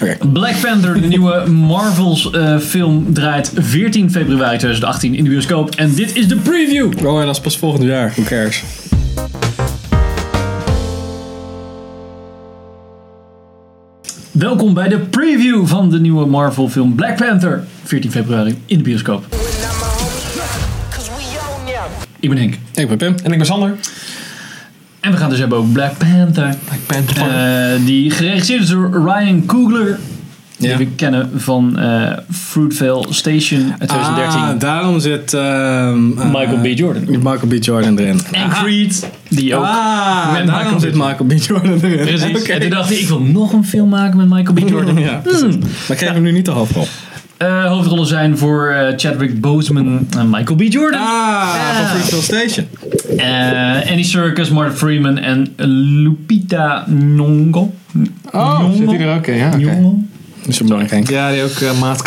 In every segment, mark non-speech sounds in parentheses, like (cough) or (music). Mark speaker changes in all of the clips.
Speaker 1: Oké.
Speaker 2: Black Panther, de nieuwe Marvels eh, film, draait 14 februari 2018 in de bioscoop. En dit is de preview.
Speaker 1: Oh, en dat is pas volgend jaar. Who cares?
Speaker 2: Welkom bij de preview van de nieuwe Marvel film Black Panther. 14 februari in de bioscoop. Ik ben Henk.
Speaker 1: Ik ben Pim.
Speaker 3: En ik ben Sander.
Speaker 2: En we gaan het dus hebben over Black Panther.
Speaker 3: Ik ben
Speaker 2: Eh, die geregisseerd is door Ryan Coogler.
Speaker 1: Ja.
Speaker 2: Die we kennen van eh, Fruitvale Station uit 2013.
Speaker 1: Ah, daarom zit ehm, eh,
Speaker 2: Michael B. Jordan.
Speaker 1: Michael B. Jordan erin.
Speaker 2: En Creed, die ook.
Speaker 1: Ah,
Speaker 2: Met
Speaker 1: daarom
Speaker 2: Michael B.
Speaker 1: zit Michael B. Jordan erin.
Speaker 2: Precies.
Speaker 1: Oké.
Speaker 2: En toen dacht ik, ik wil nog een film maken met Michael B. Jordan.
Speaker 1: (laughs) Ja, precies. Hmm. Maar krijgen we nu niet de hoofdrol?
Speaker 2: Eh, hoofdrollen zijn voor eh, Chadwick Boseman en Michael B. Jordan.
Speaker 1: Ah, van
Speaker 2: Ja.
Speaker 1: Freestyle Station.
Speaker 2: Eh, Andy Serkis, Martin Freeman en Lupita Nyong'o.
Speaker 3: Oh, zit die er ook in? Ja, oké.
Speaker 2: Nyong'o?
Speaker 1: Dat is belangrijk, Henk.
Speaker 3: Ja, die ook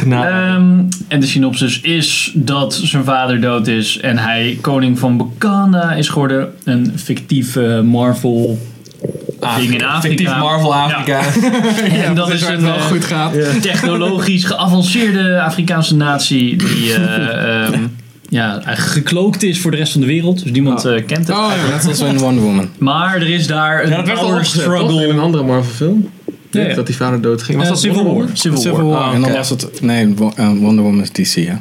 Speaker 3: uh,
Speaker 2: Ehm, en de synopsis is dat zijn vader dood is en hij koning van Wakanda is geworden. Een fictieve Marvel ding in Afrika.
Speaker 3: Fictief Marvel Afrika. (laughs)
Speaker 2: en dat is
Speaker 3: waar
Speaker 2: een
Speaker 3: het wel
Speaker 2: eh,
Speaker 3: goed gaat.
Speaker 2: technologisch geavanceerde Afrikaanse natie
Speaker 3: (laughs)
Speaker 2: die eh, ehm, ja, eigenlijk gekloakt is voor de rest van de wereld. Dus niemand eh, kent het.
Speaker 3: Oh, ja.
Speaker 1: Net zoals in Wonder Woman.
Speaker 2: Maar er is daar een power struggle.
Speaker 3: in een andere Marvel film.
Speaker 2: Ja, ja.
Speaker 3: Dat die vader dood ging. Was
Speaker 2: Eh,
Speaker 3: dat Civil
Speaker 2: Wonder
Speaker 3: War?
Speaker 2: Woman? Civil War.
Speaker 3: Ah,
Speaker 1: En dan
Speaker 3: oké.
Speaker 1: was het... Nee, Wo- eh, Wonder Woman is DC, hè?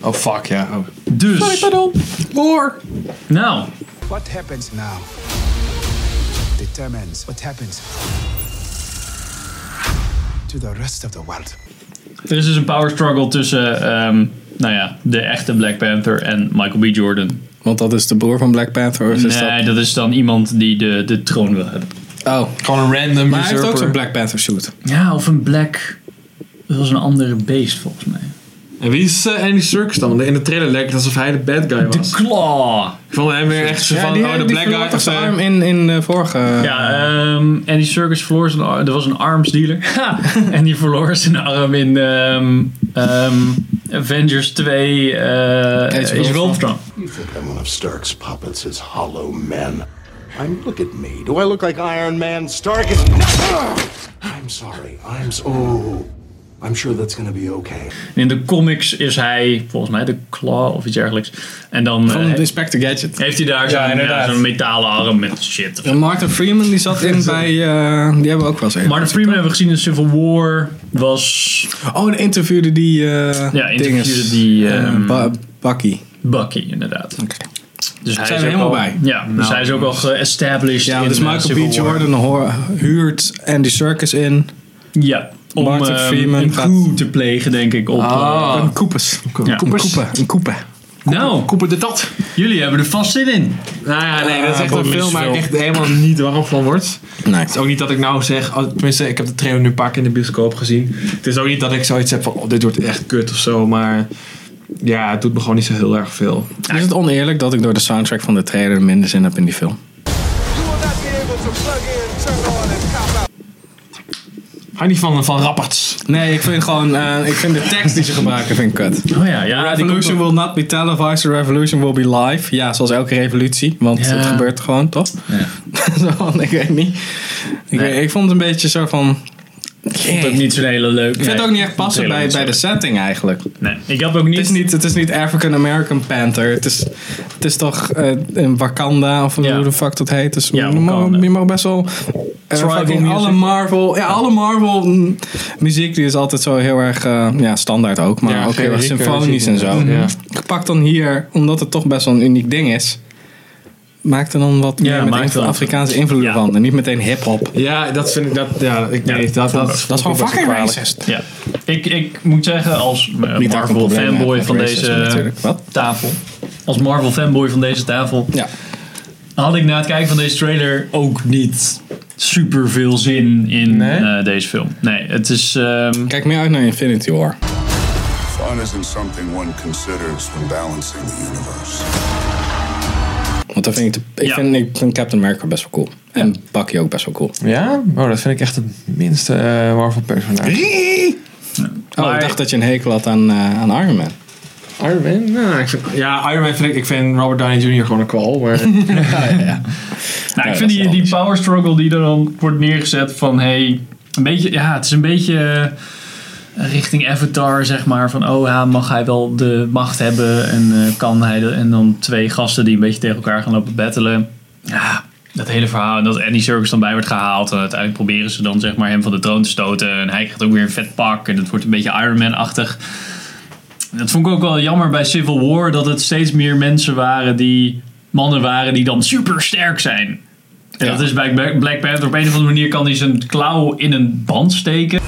Speaker 3: Oh fuck, ja. Oh.
Speaker 2: Dus,
Speaker 3: pardon. War.
Speaker 2: nou,
Speaker 4: What happens now determines what happens to the rest of the world.
Speaker 2: er is dus een power struggle tussen ehm, nou ja, de echte Black Panther en Michael B. Jordan.
Speaker 1: Want dat is de broer van Black Panther. Of is
Speaker 2: Nee, dat is dan iemand die de, de troon wil hebben.
Speaker 1: dat... Oh.
Speaker 3: Gewoon een random
Speaker 1: Maar hij heeft ook zo'n
Speaker 3: usurper.
Speaker 1: Black Panther suit.
Speaker 2: Ja, of een black... Dat was een andere beest volgens mij.
Speaker 3: En wie is eh, Andy Serkis dan? Want In de trailer leek het alsof hij de bad guy
Speaker 2: De
Speaker 3: was.
Speaker 2: Claw!
Speaker 3: Ik vond hem weer echt zo van, oh de black guy of zo.
Speaker 1: arm in, in de vorige... eh,
Speaker 2: Ja, ehm en die Circus verloor zijn ar- Er was een arms dealer. (laughs) Ha! en die verloor zijn arm in ehm, ehm, Avengers 2 eh
Speaker 1: of
Speaker 2: Age of
Speaker 1: Ultron.
Speaker 2: Ultron.
Speaker 5: You think I'm one of Stark's puppets, his hollow men. I'm look at me. Do I look like Iron Man? Stark is I'm sorry. I'm so oh, I'm sure that's gonna be okay.
Speaker 2: En in de comics is hij volgens mij de Claw of iets dergelijks. En dan
Speaker 1: Van
Speaker 2: eh,
Speaker 1: de Inspector Gadget.
Speaker 2: heeft hij daar zo'n ja,
Speaker 3: inderdaad.
Speaker 2: zo'n metalen arm met shit.
Speaker 1: En Martin Freeman die zat in bij... eh, die hebben we ook wel eens even.
Speaker 2: Martin Freeman hebben we gezien in Civil War. Was
Speaker 1: Oh, de interviewde die... eh
Speaker 2: Ja, interviewde
Speaker 1: dinges.
Speaker 2: die,
Speaker 1: Eh,
Speaker 2: ehm,
Speaker 1: Ba- Bucky.
Speaker 2: Bucky inderdaad. Dus hij
Speaker 1: Zijn
Speaker 2: is
Speaker 1: we
Speaker 2: ook
Speaker 1: helemaal
Speaker 2: al-
Speaker 1: bij? Nou,
Speaker 2: Ja, dus hij is ook al geestablished
Speaker 1: Ja,
Speaker 2: in
Speaker 1: dus
Speaker 2: eh, Civil
Speaker 1: Michael B.
Speaker 2: War.
Speaker 1: Jordan hoor- huurt Andy Serkis in.
Speaker 2: Ja, om
Speaker 1: Martin
Speaker 2: ehm,
Speaker 1: Freeman
Speaker 2: een
Speaker 1: gaat- Ah.
Speaker 2: coup te plegen denk ik op... eh,
Speaker 1: Een koepers.
Speaker 2: Ja.
Speaker 1: Oh. Een koeper. Een koeper.
Speaker 2: Nou,
Speaker 3: Cooper de Tat.
Speaker 2: jullie hebben er vast zin in.
Speaker 3: Nou ja, nee, dat is echt
Speaker 1: Ah,
Speaker 3: een film waar ik echt helemaal niet warm van word.
Speaker 1: Nee.
Speaker 3: Het is ook niet dat ik nou zeg, oh, tenminste, ik heb de trailer nu een paar keer in de bioscoop gezien. Het is ook niet dat ik zoiets heb van, oh, dit wordt echt kut of zo, maar ja, het doet me gewoon niet zo heel erg veel.
Speaker 1: Is het oneerlijk dat ik door de soundtrack van de trailer minder zin heb in die film?
Speaker 4: You will not be able to plug in, turn on, and cop out.
Speaker 3: Hou niet van, van rapperts.
Speaker 1: Nee, ik vind gewoon, eh, ik vind de tekst die ze gebruiken vind ik kut.
Speaker 2: Oh ja, ja. die komt
Speaker 1: Revolution
Speaker 2: nog.
Speaker 1: will not be televised, the revolution will be live. Ja, zoals elke revolutie, want
Speaker 2: Ja.
Speaker 1: het gebeurt gewoon, toch?
Speaker 2: Ja.
Speaker 1: (laughs) Zo van, ik weet niet. Ik, weet- ik vond het een beetje zo van...
Speaker 2: Ik vond het niet zo'n hele leuk.
Speaker 1: Ik vind het ook niet echt passen bij, bij de setting eigenlijk.
Speaker 2: Nee, ik had ook
Speaker 1: Het is
Speaker 2: niet...
Speaker 1: niet, het is niet African American Panther. Het is, het is toch eh, een Wakanda of
Speaker 2: Ja.
Speaker 1: hoe de fuck dat heet. Dus
Speaker 2: Ja,
Speaker 1: je, mag,
Speaker 2: Wakanda.
Speaker 1: je mag best wel. eh,
Speaker 2: Tribal
Speaker 1: fucking
Speaker 2: music.
Speaker 1: alle Marvel, ja, alle Marvel mm, muziek die is altijd zo heel erg eh, ja, standaard ook, maar
Speaker 3: Ja,
Speaker 1: ook heel erg
Speaker 3: generieke
Speaker 1: symfonisch en
Speaker 3: muziek,
Speaker 1: zo.
Speaker 2: Mhm.
Speaker 3: ja.
Speaker 1: Gepakt dan hier, omdat het toch best wel een uniek ding is, maakt er dan wat
Speaker 2: Ja,
Speaker 1: meer met
Speaker 2: maakt
Speaker 1: invloed-
Speaker 2: wel.
Speaker 1: Afrikaanse invloeden
Speaker 2: Ja.
Speaker 1: van en niet meteen hip-hop.
Speaker 3: Ja, dat vind ik, dat, ja, ik
Speaker 2: Ja,
Speaker 3: weet niet, dat, dat,
Speaker 1: Dat is gewoon fucking racist.
Speaker 2: Ja. Ik, ik moet zeggen, als eh,
Speaker 1: Niet dat ik een
Speaker 2: Marvel
Speaker 1: probleem heb
Speaker 2: fanboy
Speaker 1: met
Speaker 2: van
Speaker 1: racisme
Speaker 2: deze
Speaker 1: natuurlijk. Wat?
Speaker 2: tafel... Als Marvel fanboy van deze tafel...
Speaker 1: Ja.
Speaker 2: had ik na het kijken van deze trailer ook niet super veel zin in
Speaker 3: Nee?
Speaker 2: eh, deze film. Nee, het is... ehm,
Speaker 1: Kijk meer uit naar Infinity War.
Speaker 5: Fun isn't something one considers when balancing the universe.
Speaker 1: Want dat vind ik, te- ik,
Speaker 2: Ja.
Speaker 1: vind, ik vind Captain America best wel cool. En Bucky ook best wel cool.
Speaker 3: Ja? Oh, dat vind ik echt het minste eh, Marvel personage.
Speaker 1: Oh,
Speaker 2: Maar-
Speaker 1: ik dacht dat je een hekel had aan, eh, aan Iron
Speaker 3: (laughs)
Speaker 1: Man.
Speaker 3: Iron Man? Nou, ik vind, ja, Iron Man vind ik, ik vind Robert Downey Jr. gewoon een kwal, (laughs) maar...
Speaker 2: Nou, ik
Speaker 1: Ja,
Speaker 2: Nou, vind
Speaker 1: dat is
Speaker 2: die, die
Speaker 1: anders.
Speaker 2: power struggle die er dan wordt neergezet van hey, Een beetje, ja, het is een beetje eh, richting Avatar, zeg maar. Van, oh ja, mag hij wel de macht hebben? En eh, kan hij... De, en dan twee gasten die een beetje tegen elkaar gaan lopen battelen. Ja, dat hele verhaal. En dat Andy Serkis dan bij wordt gehaald. En uiteindelijk proberen ze dan, zeg maar, hem van de troon te stoten. En hij krijgt ook weer een vet pak. En het wordt een beetje Iron Man-achtig. Dat vond ik ook wel jammer bij Civil War. Dat het steeds meer mensen waren die... Mannen waren die dan super sterk zijn. En dat is bij Black- Black Panther. Op een of andere manier kan hij zijn klauw in een band steken.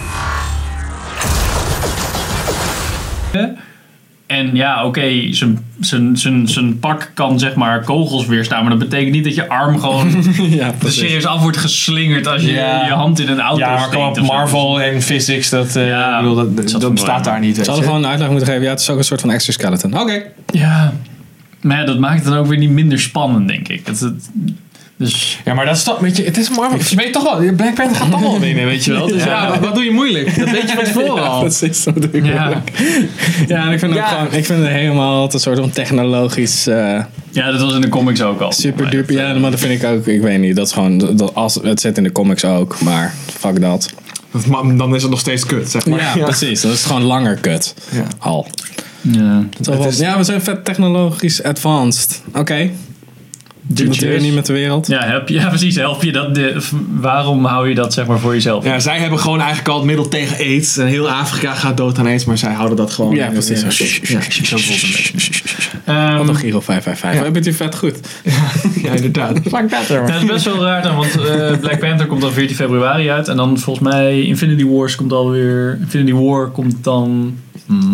Speaker 2: En ja, oké, zijn- zijn- zijn- zijn pak kan zeg maar kogels weerstaan. Maar dat betekent niet dat je arm
Speaker 3: (laughs)
Speaker 2: gewoon
Speaker 1: ja,
Speaker 2: er
Speaker 1: precies.
Speaker 2: serieus af wordt geslingerd als je
Speaker 3: Ja.
Speaker 2: je hand in een auto
Speaker 3: Ja, maar
Speaker 2: steekt
Speaker 3: kom op,
Speaker 2: of zo.
Speaker 3: Marvel en physics, dat, eh,
Speaker 2: Ja,
Speaker 3: ik bedoel, dat,
Speaker 2: het zat
Speaker 3: dat
Speaker 2: er
Speaker 3: bestaat
Speaker 2: wel
Speaker 3: daar niet. weet
Speaker 1: Ze hadden
Speaker 3: je.
Speaker 1: gewoon een uitleg moeten geven. Ja, het is ook een soort van exoskeleton. Oké.
Speaker 2: Ja, maar ja, dat maakt het dan ook weer niet minder spannend, denk ik. Dat het, dus
Speaker 3: Ja, maar dat is toch, weet je, het is Marvel. Je weet toch wel, Black Panther gaat toch
Speaker 1: (laughs)
Speaker 3: wel winnen, weet je wel. Dus ja, wat, wat doe je moeilijk? Dat weet je van tevoren al.
Speaker 1: Precies, dat bedoel ik.
Speaker 2: ja.
Speaker 1: Ja, en ik vind, het
Speaker 3: Ja.
Speaker 1: Ook gewoon, ik vind het helemaal altijd een soort van technologisch eh
Speaker 2: ja, dat was in de comics ook al.
Speaker 1: super duper. Ja, maar dat vind ik ook, ik weet niet. Dat is gewoon, dat, als, het zit in de comics ook, maar fuck dat.
Speaker 3: Dat ma- Dan is het nog steeds kut, zeg maar. (laughs)
Speaker 1: Ja, precies. Dat is gewoon langer kut.
Speaker 3: Ja.
Speaker 1: Al.
Speaker 2: Ja.
Speaker 1: Terwijl
Speaker 3: Het
Speaker 1: van, Ja, we zijn vet technologisch advanced. Oké. Doet het weer niet met de wereld.
Speaker 2: Ja, help je, ja, precies. Help je dat de, f- waarom hou je dat zeg maar voor jezelf?
Speaker 3: Ja, zij hebben gewoon eigenlijk al het middel tegen aids. En heel Afrika gaat dood aan aids, maar zij houden dat gewoon. eh,
Speaker 1: Ja, precies.
Speaker 3: Ja, ja,
Speaker 2: Zo voelt het een beetje. Ehm,
Speaker 1: Wat een Giro 555. Ja. Bent u vet goed?
Speaker 3: (laughs) ja, inderdaad. Fuck better, man.
Speaker 2: dat is best wel raar dan, want eh, Black Panther komt dan 14 februari uit. En dan volgens mij Infinity Wars komt alweer... Infinity War komt dan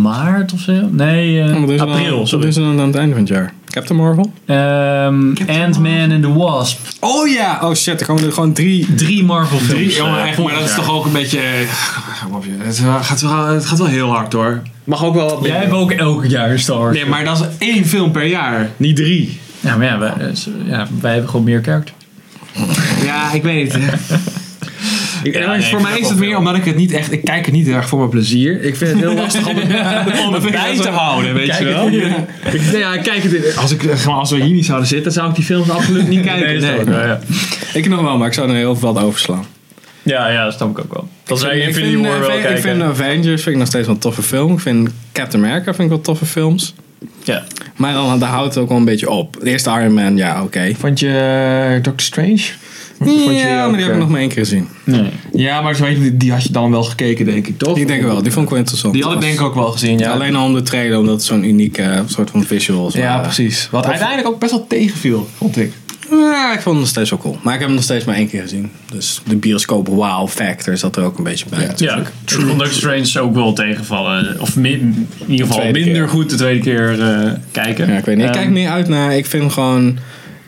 Speaker 2: maart of zo? Nee,
Speaker 3: Oh,
Speaker 2: eh,
Speaker 1: Wat doen ze dan-
Speaker 2: april.
Speaker 1: Wat doen
Speaker 2: sorry.
Speaker 1: ze dan aan het einde van het jaar? Captain Marvel?
Speaker 2: Ehm, Ant-Man and the Wasp.
Speaker 1: Oh ja! Oh shit, er komen er gewoon drie.
Speaker 2: Drie Marvel films.
Speaker 3: Drie, jongen,
Speaker 2: eh,
Speaker 3: echt, maar dat is
Speaker 2: volgend
Speaker 3: toch
Speaker 2: jaar.
Speaker 3: ook een beetje. eh, kom op, joh. Het eh, gaat wel, het gaat wel heel hard hoor. Mag ook wel wat
Speaker 2: Jij hebt ook elk jaar een Star Wars.
Speaker 3: Nee, maar dat is één film per jaar, niet drie.
Speaker 2: Ja, maar ja, wij, eh, zo- ja, wij hebben gewoon meer karakter.
Speaker 3: Ja, ik
Speaker 2: (laughs)
Speaker 3: weet het. Ik-
Speaker 2: Ja,
Speaker 3: maar
Speaker 2: nee,
Speaker 3: voor
Speaker 2: ik
Speaker 3: mij
Speaker 2: snap
Speaker 3: is
Speaker 2: wel
Speaker 3: het meer
Speaker 2: veel.
Speaker 3: omdat ik het niet echt. Ik kijk het niet heel erg voor mijn plezier. Ik vind het heel lastig om het, om het bij te houden, weet
Speaker 2: (laughs)
Speaker 3: je wel. (laughs) Ik, nou ja, ik kijk het in- als, ik, eh, gewoon als we hier niet zouden zitten, zou ik die films absoluut niet kijken. Nee,
Speaker 2: Ja, ja.
Speaker 1: Ik nog wel, maar ik zou er heel veel wat overslaan.
Speaker 2: Ja, ja, dat snap ik ook wel. Dan zou je
Speaker 1: ik
Speaker 2: Infinity
Speaker 1: vind,
Speaker 2: War
Speaker 1: eh,
Speaker 2: wel
Speaker 1: vind-
Speaker 2: kijken.
Speaker 1: ik vind Avengers vind ik nog steeds wel een toffe film. Ik vind Captain America vind ik wel toffe films.
Speaker 2: ja.
Speaker 1: Maar dan, daar houdt het ook wel een beetje op. De eerste Iron Man, ja, oké.
Speaker 3: Vond je eh, Doctor Strange?
Speaker 1: Ja, maar die heb ik nog maar één keer gezien.
Speaker 2: Nee.
Speaker 3: Ja, maar zo weet je, die, die had je dan wel gekeken, denk ik, toch?
Speaker 1: Die denk ik wel, die vond ik wel interessant.
Speaker 3: Die had ik denk ik ook wel gezien, ja.
Speaker 1: Alleen al om de trailer, omdat het zo'n unieke eh, soort van visuals
Speaker 3: Ja,
Speaker 1: waren.
Speaker 3: precies. Wat uiteindelijk ook best wel tegenviel, vond ik.
Speaker 1: Ja, Nou, ik vond het nog steeds wel cool. Maar ik heb hem nog steeds maar één keer gezien. Dus de bioscoop wow factor zat er ook een beetje bij.
Speaker 2: Ja, ik vond Doctor Strange ook wel tegenvallen. Of min- in ieder geval
Speaker 1: tweede
Speaker 2: minder
Speaker 1: keer.
Speaker 2: goed de tweede keer eh, kijken.
Speaker 1: Ja, ik weet niet. Ik
Speaker 2: Ehm,
Speaker 1: kijk meer uit naar. Ik vind gewoon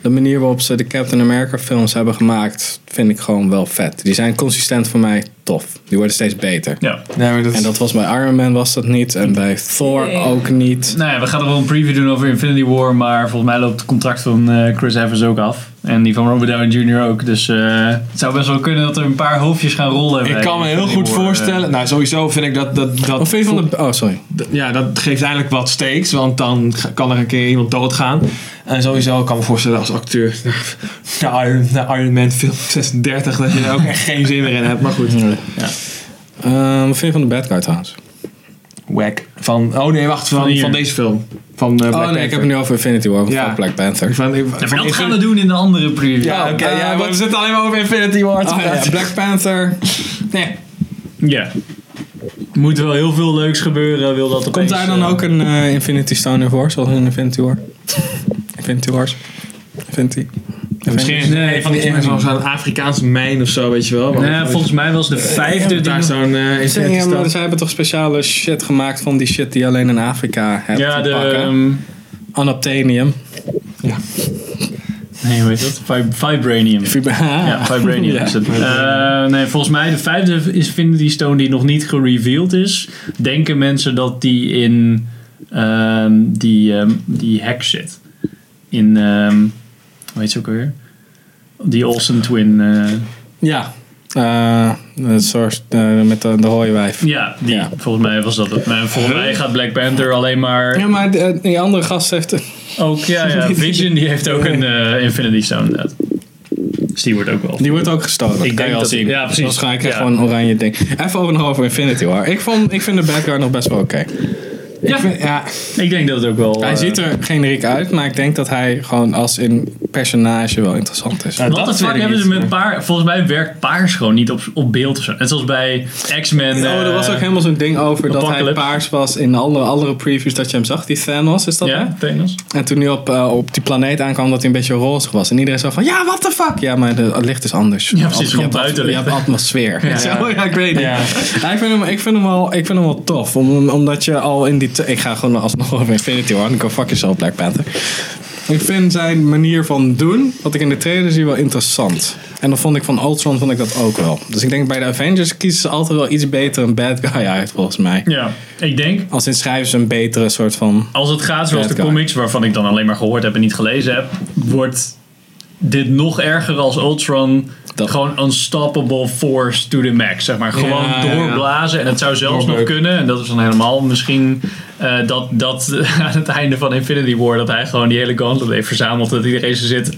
Speaker 1: de manier waarop ze de Captain America films hebben gemaakt, vind ik gewoon wel vet. Die zijn consistent voor mij tof. Die worden steeds beter.
Speaker 2: Ja.
Speaker 3: Nee, maar dat,
Speaker 1: En dat was bij Iron Man was dat niet. En bij Thor ook niet.
Speaker 2: Nou ja, we gaan er wel een preview doen over Infinity War. Maar volgens mij loopt het contract van eh, Chris Evans ook af. En die van Robert Downey Jr. ook. Dus eh, het zou best wel kunnen dat er een paar hoofdjes gaan rollen.
Speaker 3: ik
Speaker 2: bij
Speaker 3: kan me heel
Speaker 2: Infinity
Speaker 3: goed
Speaker 2: War, eh.
Speaker 3: voorstellen. nou, sowieso vind ik dat. dat, dat
Speaker 1: Wat vind je van de... Oh, sorry.
Speaker 3: D- ja, dat geeft eigenlijk wat steeks, want dan ga- kan er een keer iemand doodgaan. En sowieso ik kan me voorstellen als acteur (laughs) naar Iron, naar Iron Man film 36 dat je daar ook echt geen zin meer in hebt. Maar goed,
Speaker 1: Ehm, wat vind je van de Bad Guy trouwens?
Speaker 3: whack. Van, oh nee, wacht, van,
Speaker 2: Van
Speaker 3: van,
Speaker 2: hier.
Speaker 3: deze film. Van eh, Black
Speaker 1: Oh nee, ik heb het nu over Infinity War
Speaker 3: Ja.
Speaker 1: van Black Panther.
Speaker 3: Van,
Speaker 2: Ja, maar dat gaan we doen in de andere preview.
Speaker 3: Ja, oké,
Speaker 1: Eh,
Speaker 3: ja,
Speaker 1: wat-
Speaker 3: we zitten alleen maar over Infinity War. te
Speaker 1: Oh, ja,
Speaker 3: praten.
Speaker 1: Black Panther. Nee.
Speaker 2: Ja. Er moet wel heel veel leuks gebeuren. Wil dat
Speaker 1: Komt daar dan ook een eh, Infinity Stone in voor, zoals in Infinity War? Infinity Wars. Infinity.
Speaker 3: Misschien nee, van die ergens wel zo'n Afrikaanse mijn of zo, weet je wel. Maar-
Speaker 2: Nee, Nou volgens mij was de vijfde.
Speaker 3: daar
Speaker 2: Die...
Speaker 3: zo'n eh Infinity
Speaker 1: Ja,
Speaker 3: Stone.
Speaker 1: maar ze hebben toch speciale shit gemaakt van die shit die je alleen in Afrika hebt
Speaker 2: Ja,
Speaker 1: te
Speaker 2: de.
Speaker 1: pakken?
Speaker 2: ehm,
Speaker 1: Unobtainium.
Speaker 2: nee, hoe heet dat? Vib- Vibranium. Ja, Vibranium is het. Eh, nee, volgens mij de vijfde is Infinity Stone die nog niet gereveeld is. Denken mensen dat die in ehm, die, ehm, die hack zit. In, ehm hoe heet ze ook alweer? Die Olsen Twin. eh,
Speaker 1: (laughs) Ja. Eh, een soort, eh, met de, de rode wijf.
Speaker 2: ja, die.
Speaker 1: Ja.
Speaker 2: Volgens mij was dat het. Maar volgens mij gaat Black Panther alleen maar...
Speaker 1: Ja, maar de- eh, die andere gast heeft...
Speaker 2: Ook, ja, ja. Vision die heeft ook een eh, Infinity Stone inderdaad. Dus die wordt ook wel.
Speaker 1: Die wordt ook gestolen. Dat
Speaker 2: Ik
Speaker 1: kan
Speaker 2: denk
Speaker 1: je al
Speaker 2: dat-
Speaker 1: zien.
Speaker 2: ja, precies.
Speaker 1: Dan ga ik echt
Speaker 2: Ja.
Speaker 1: gewoon een oranje ding. Even over nog over Infinity War. Ik, vond, ik vind de background nog best wel oké.
Speaker 2: ja,
Speaker 1: Ik vind- Ja,
Speaker 2: ik denk dat het ook wel.
Speaker 1: hij
Speaker 2: eh,
Speaker 1: ziet er generiek uit, maar ik denk dat hij gewoon als in personage wel interessant is.
Speaker 3: Ja,
Speaker 2: Wat
Speaker 3: dat
Speaker 2: de
Speaker 3: weet
Speaker 2: fuck
Speaker 3: ik
Speaker 2: hebben ze
Speaker 3: niet.
Speaker 2: met paar? Volgens mij werkt paars gewoon niet op, op beeld of zo. Net zoals bij X-Men.
Speaker 1: Oh, er
Speaker 2: eh,
Speaker 1: was ook helemaal zo'n ding over dat hij
Speaker 2: Apocalypse.
Speaker 1: paars was in alle andere previews dat je hem zag, die Thanos, is dat
Speaker 2: Ja,
Speaker 1: hem?
Speaker 2: Thanos.
Speaker 1: En toen hij op, eh, op die planeet aankwam, dat hij een beetje roze was. En iedereen zo van, ja, what the fuck? Ja, maar de, het licht is anders.
Speaker 2: Ja, precies,
Speaker 1: Je
Speaker 2: gewoon
Speaker 1: hebt at-
Speaker 2: buitenlicht.
Speaker 1: Je hebt atmosfeer.
Speaker 2: Ja.
Speaker 1: (laughs) Ja, ja ik weet het.
Speaker 3: Ja.
Speaker 1: Ja, ik, vind hem, ik, vind hem wel, ik vind hem wel tof. Om, omdat je al in die... te- Ik ga gewoon alsnog (laughs) over Infinity War. Ik kan fuck jezelf, Black Panther. Ik vind zijn manier van doen, wat ik in de trailer zie, wel interessant. En dan vond ik van Ultron vond ik dat ook wel. Dus ik denk bij de Avengers kiezen ze altijd wel iets beter een bad guy uit, volgens mij.
Speaker 2: Ja, ik denk
Speaker 1: Als in schrijven ze een betere soort van...
Speaker 2: als het gaat zoals
Speaker 1: Bad
Speaker 2: de
Speaker 1: guy.
Speaker 2: comics, waarvan ik dan alleen maar gehoord heb en niet gelezen heb, wordt dit nog erger als Ultron.
Speaker 1: Dat-
Speaker 2: Gewoon unstoppable force to the max, zeg maar. Gewoon
Speaker 1: Ja, ja, ja.
Speaker 2: doorblazen. En het zou zelfs nog
Speaker 3: Doorbeuken.
Speaker 2: kunnen, en dat is dan helemaal misschien eh, dat, dat (laughs) aan het einde van Infinity War, dat hij gewoon die hele gauntlet heeft verzameld. Dat iedereen zo zit.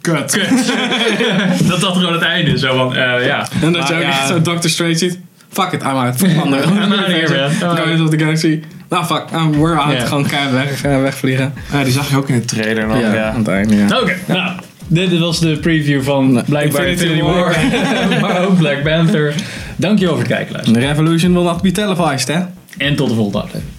Speaker 1: Kut.
Speaker 2: (laughs) Dat dat gewoon het einde is. Zo van, eh, ja.
Speaker 1: En dat je
Speaker 3: Maar
Speaker 1: ook
Speaker 3: ja.
Speaker 1: echt zo Doctor Strange ziet. Fuck it, I'm out.
Speaker 2: (laughs)
Speaker 1: Verander.
Speaker 2: here, man.
Speaker 1: Guardians of the Galaxy. Nou fuck, I'm, we're out.
Speaker 2: Ja.
Speaker 1: Gewoon keihard weg, eh, wegvliegen.
Speaker 3: Ja, die zag je ook in de trailer. nog,
Speaker 1: Ja,
Speaker 3: ja.
Speaker 1: aan het einde, ja.
Speaker 2: Oké, nou. Dit was de preview van blijkbaar
Speaker 1: Infinity
Speaker 2: Infinity War. (laughs) maar ook Black Panther. Dankjewel voor het kijken, luisteren.
Speaker 1: The Revolution will not be televised, hè?
Speaker 2: En tot de volgende aflevering.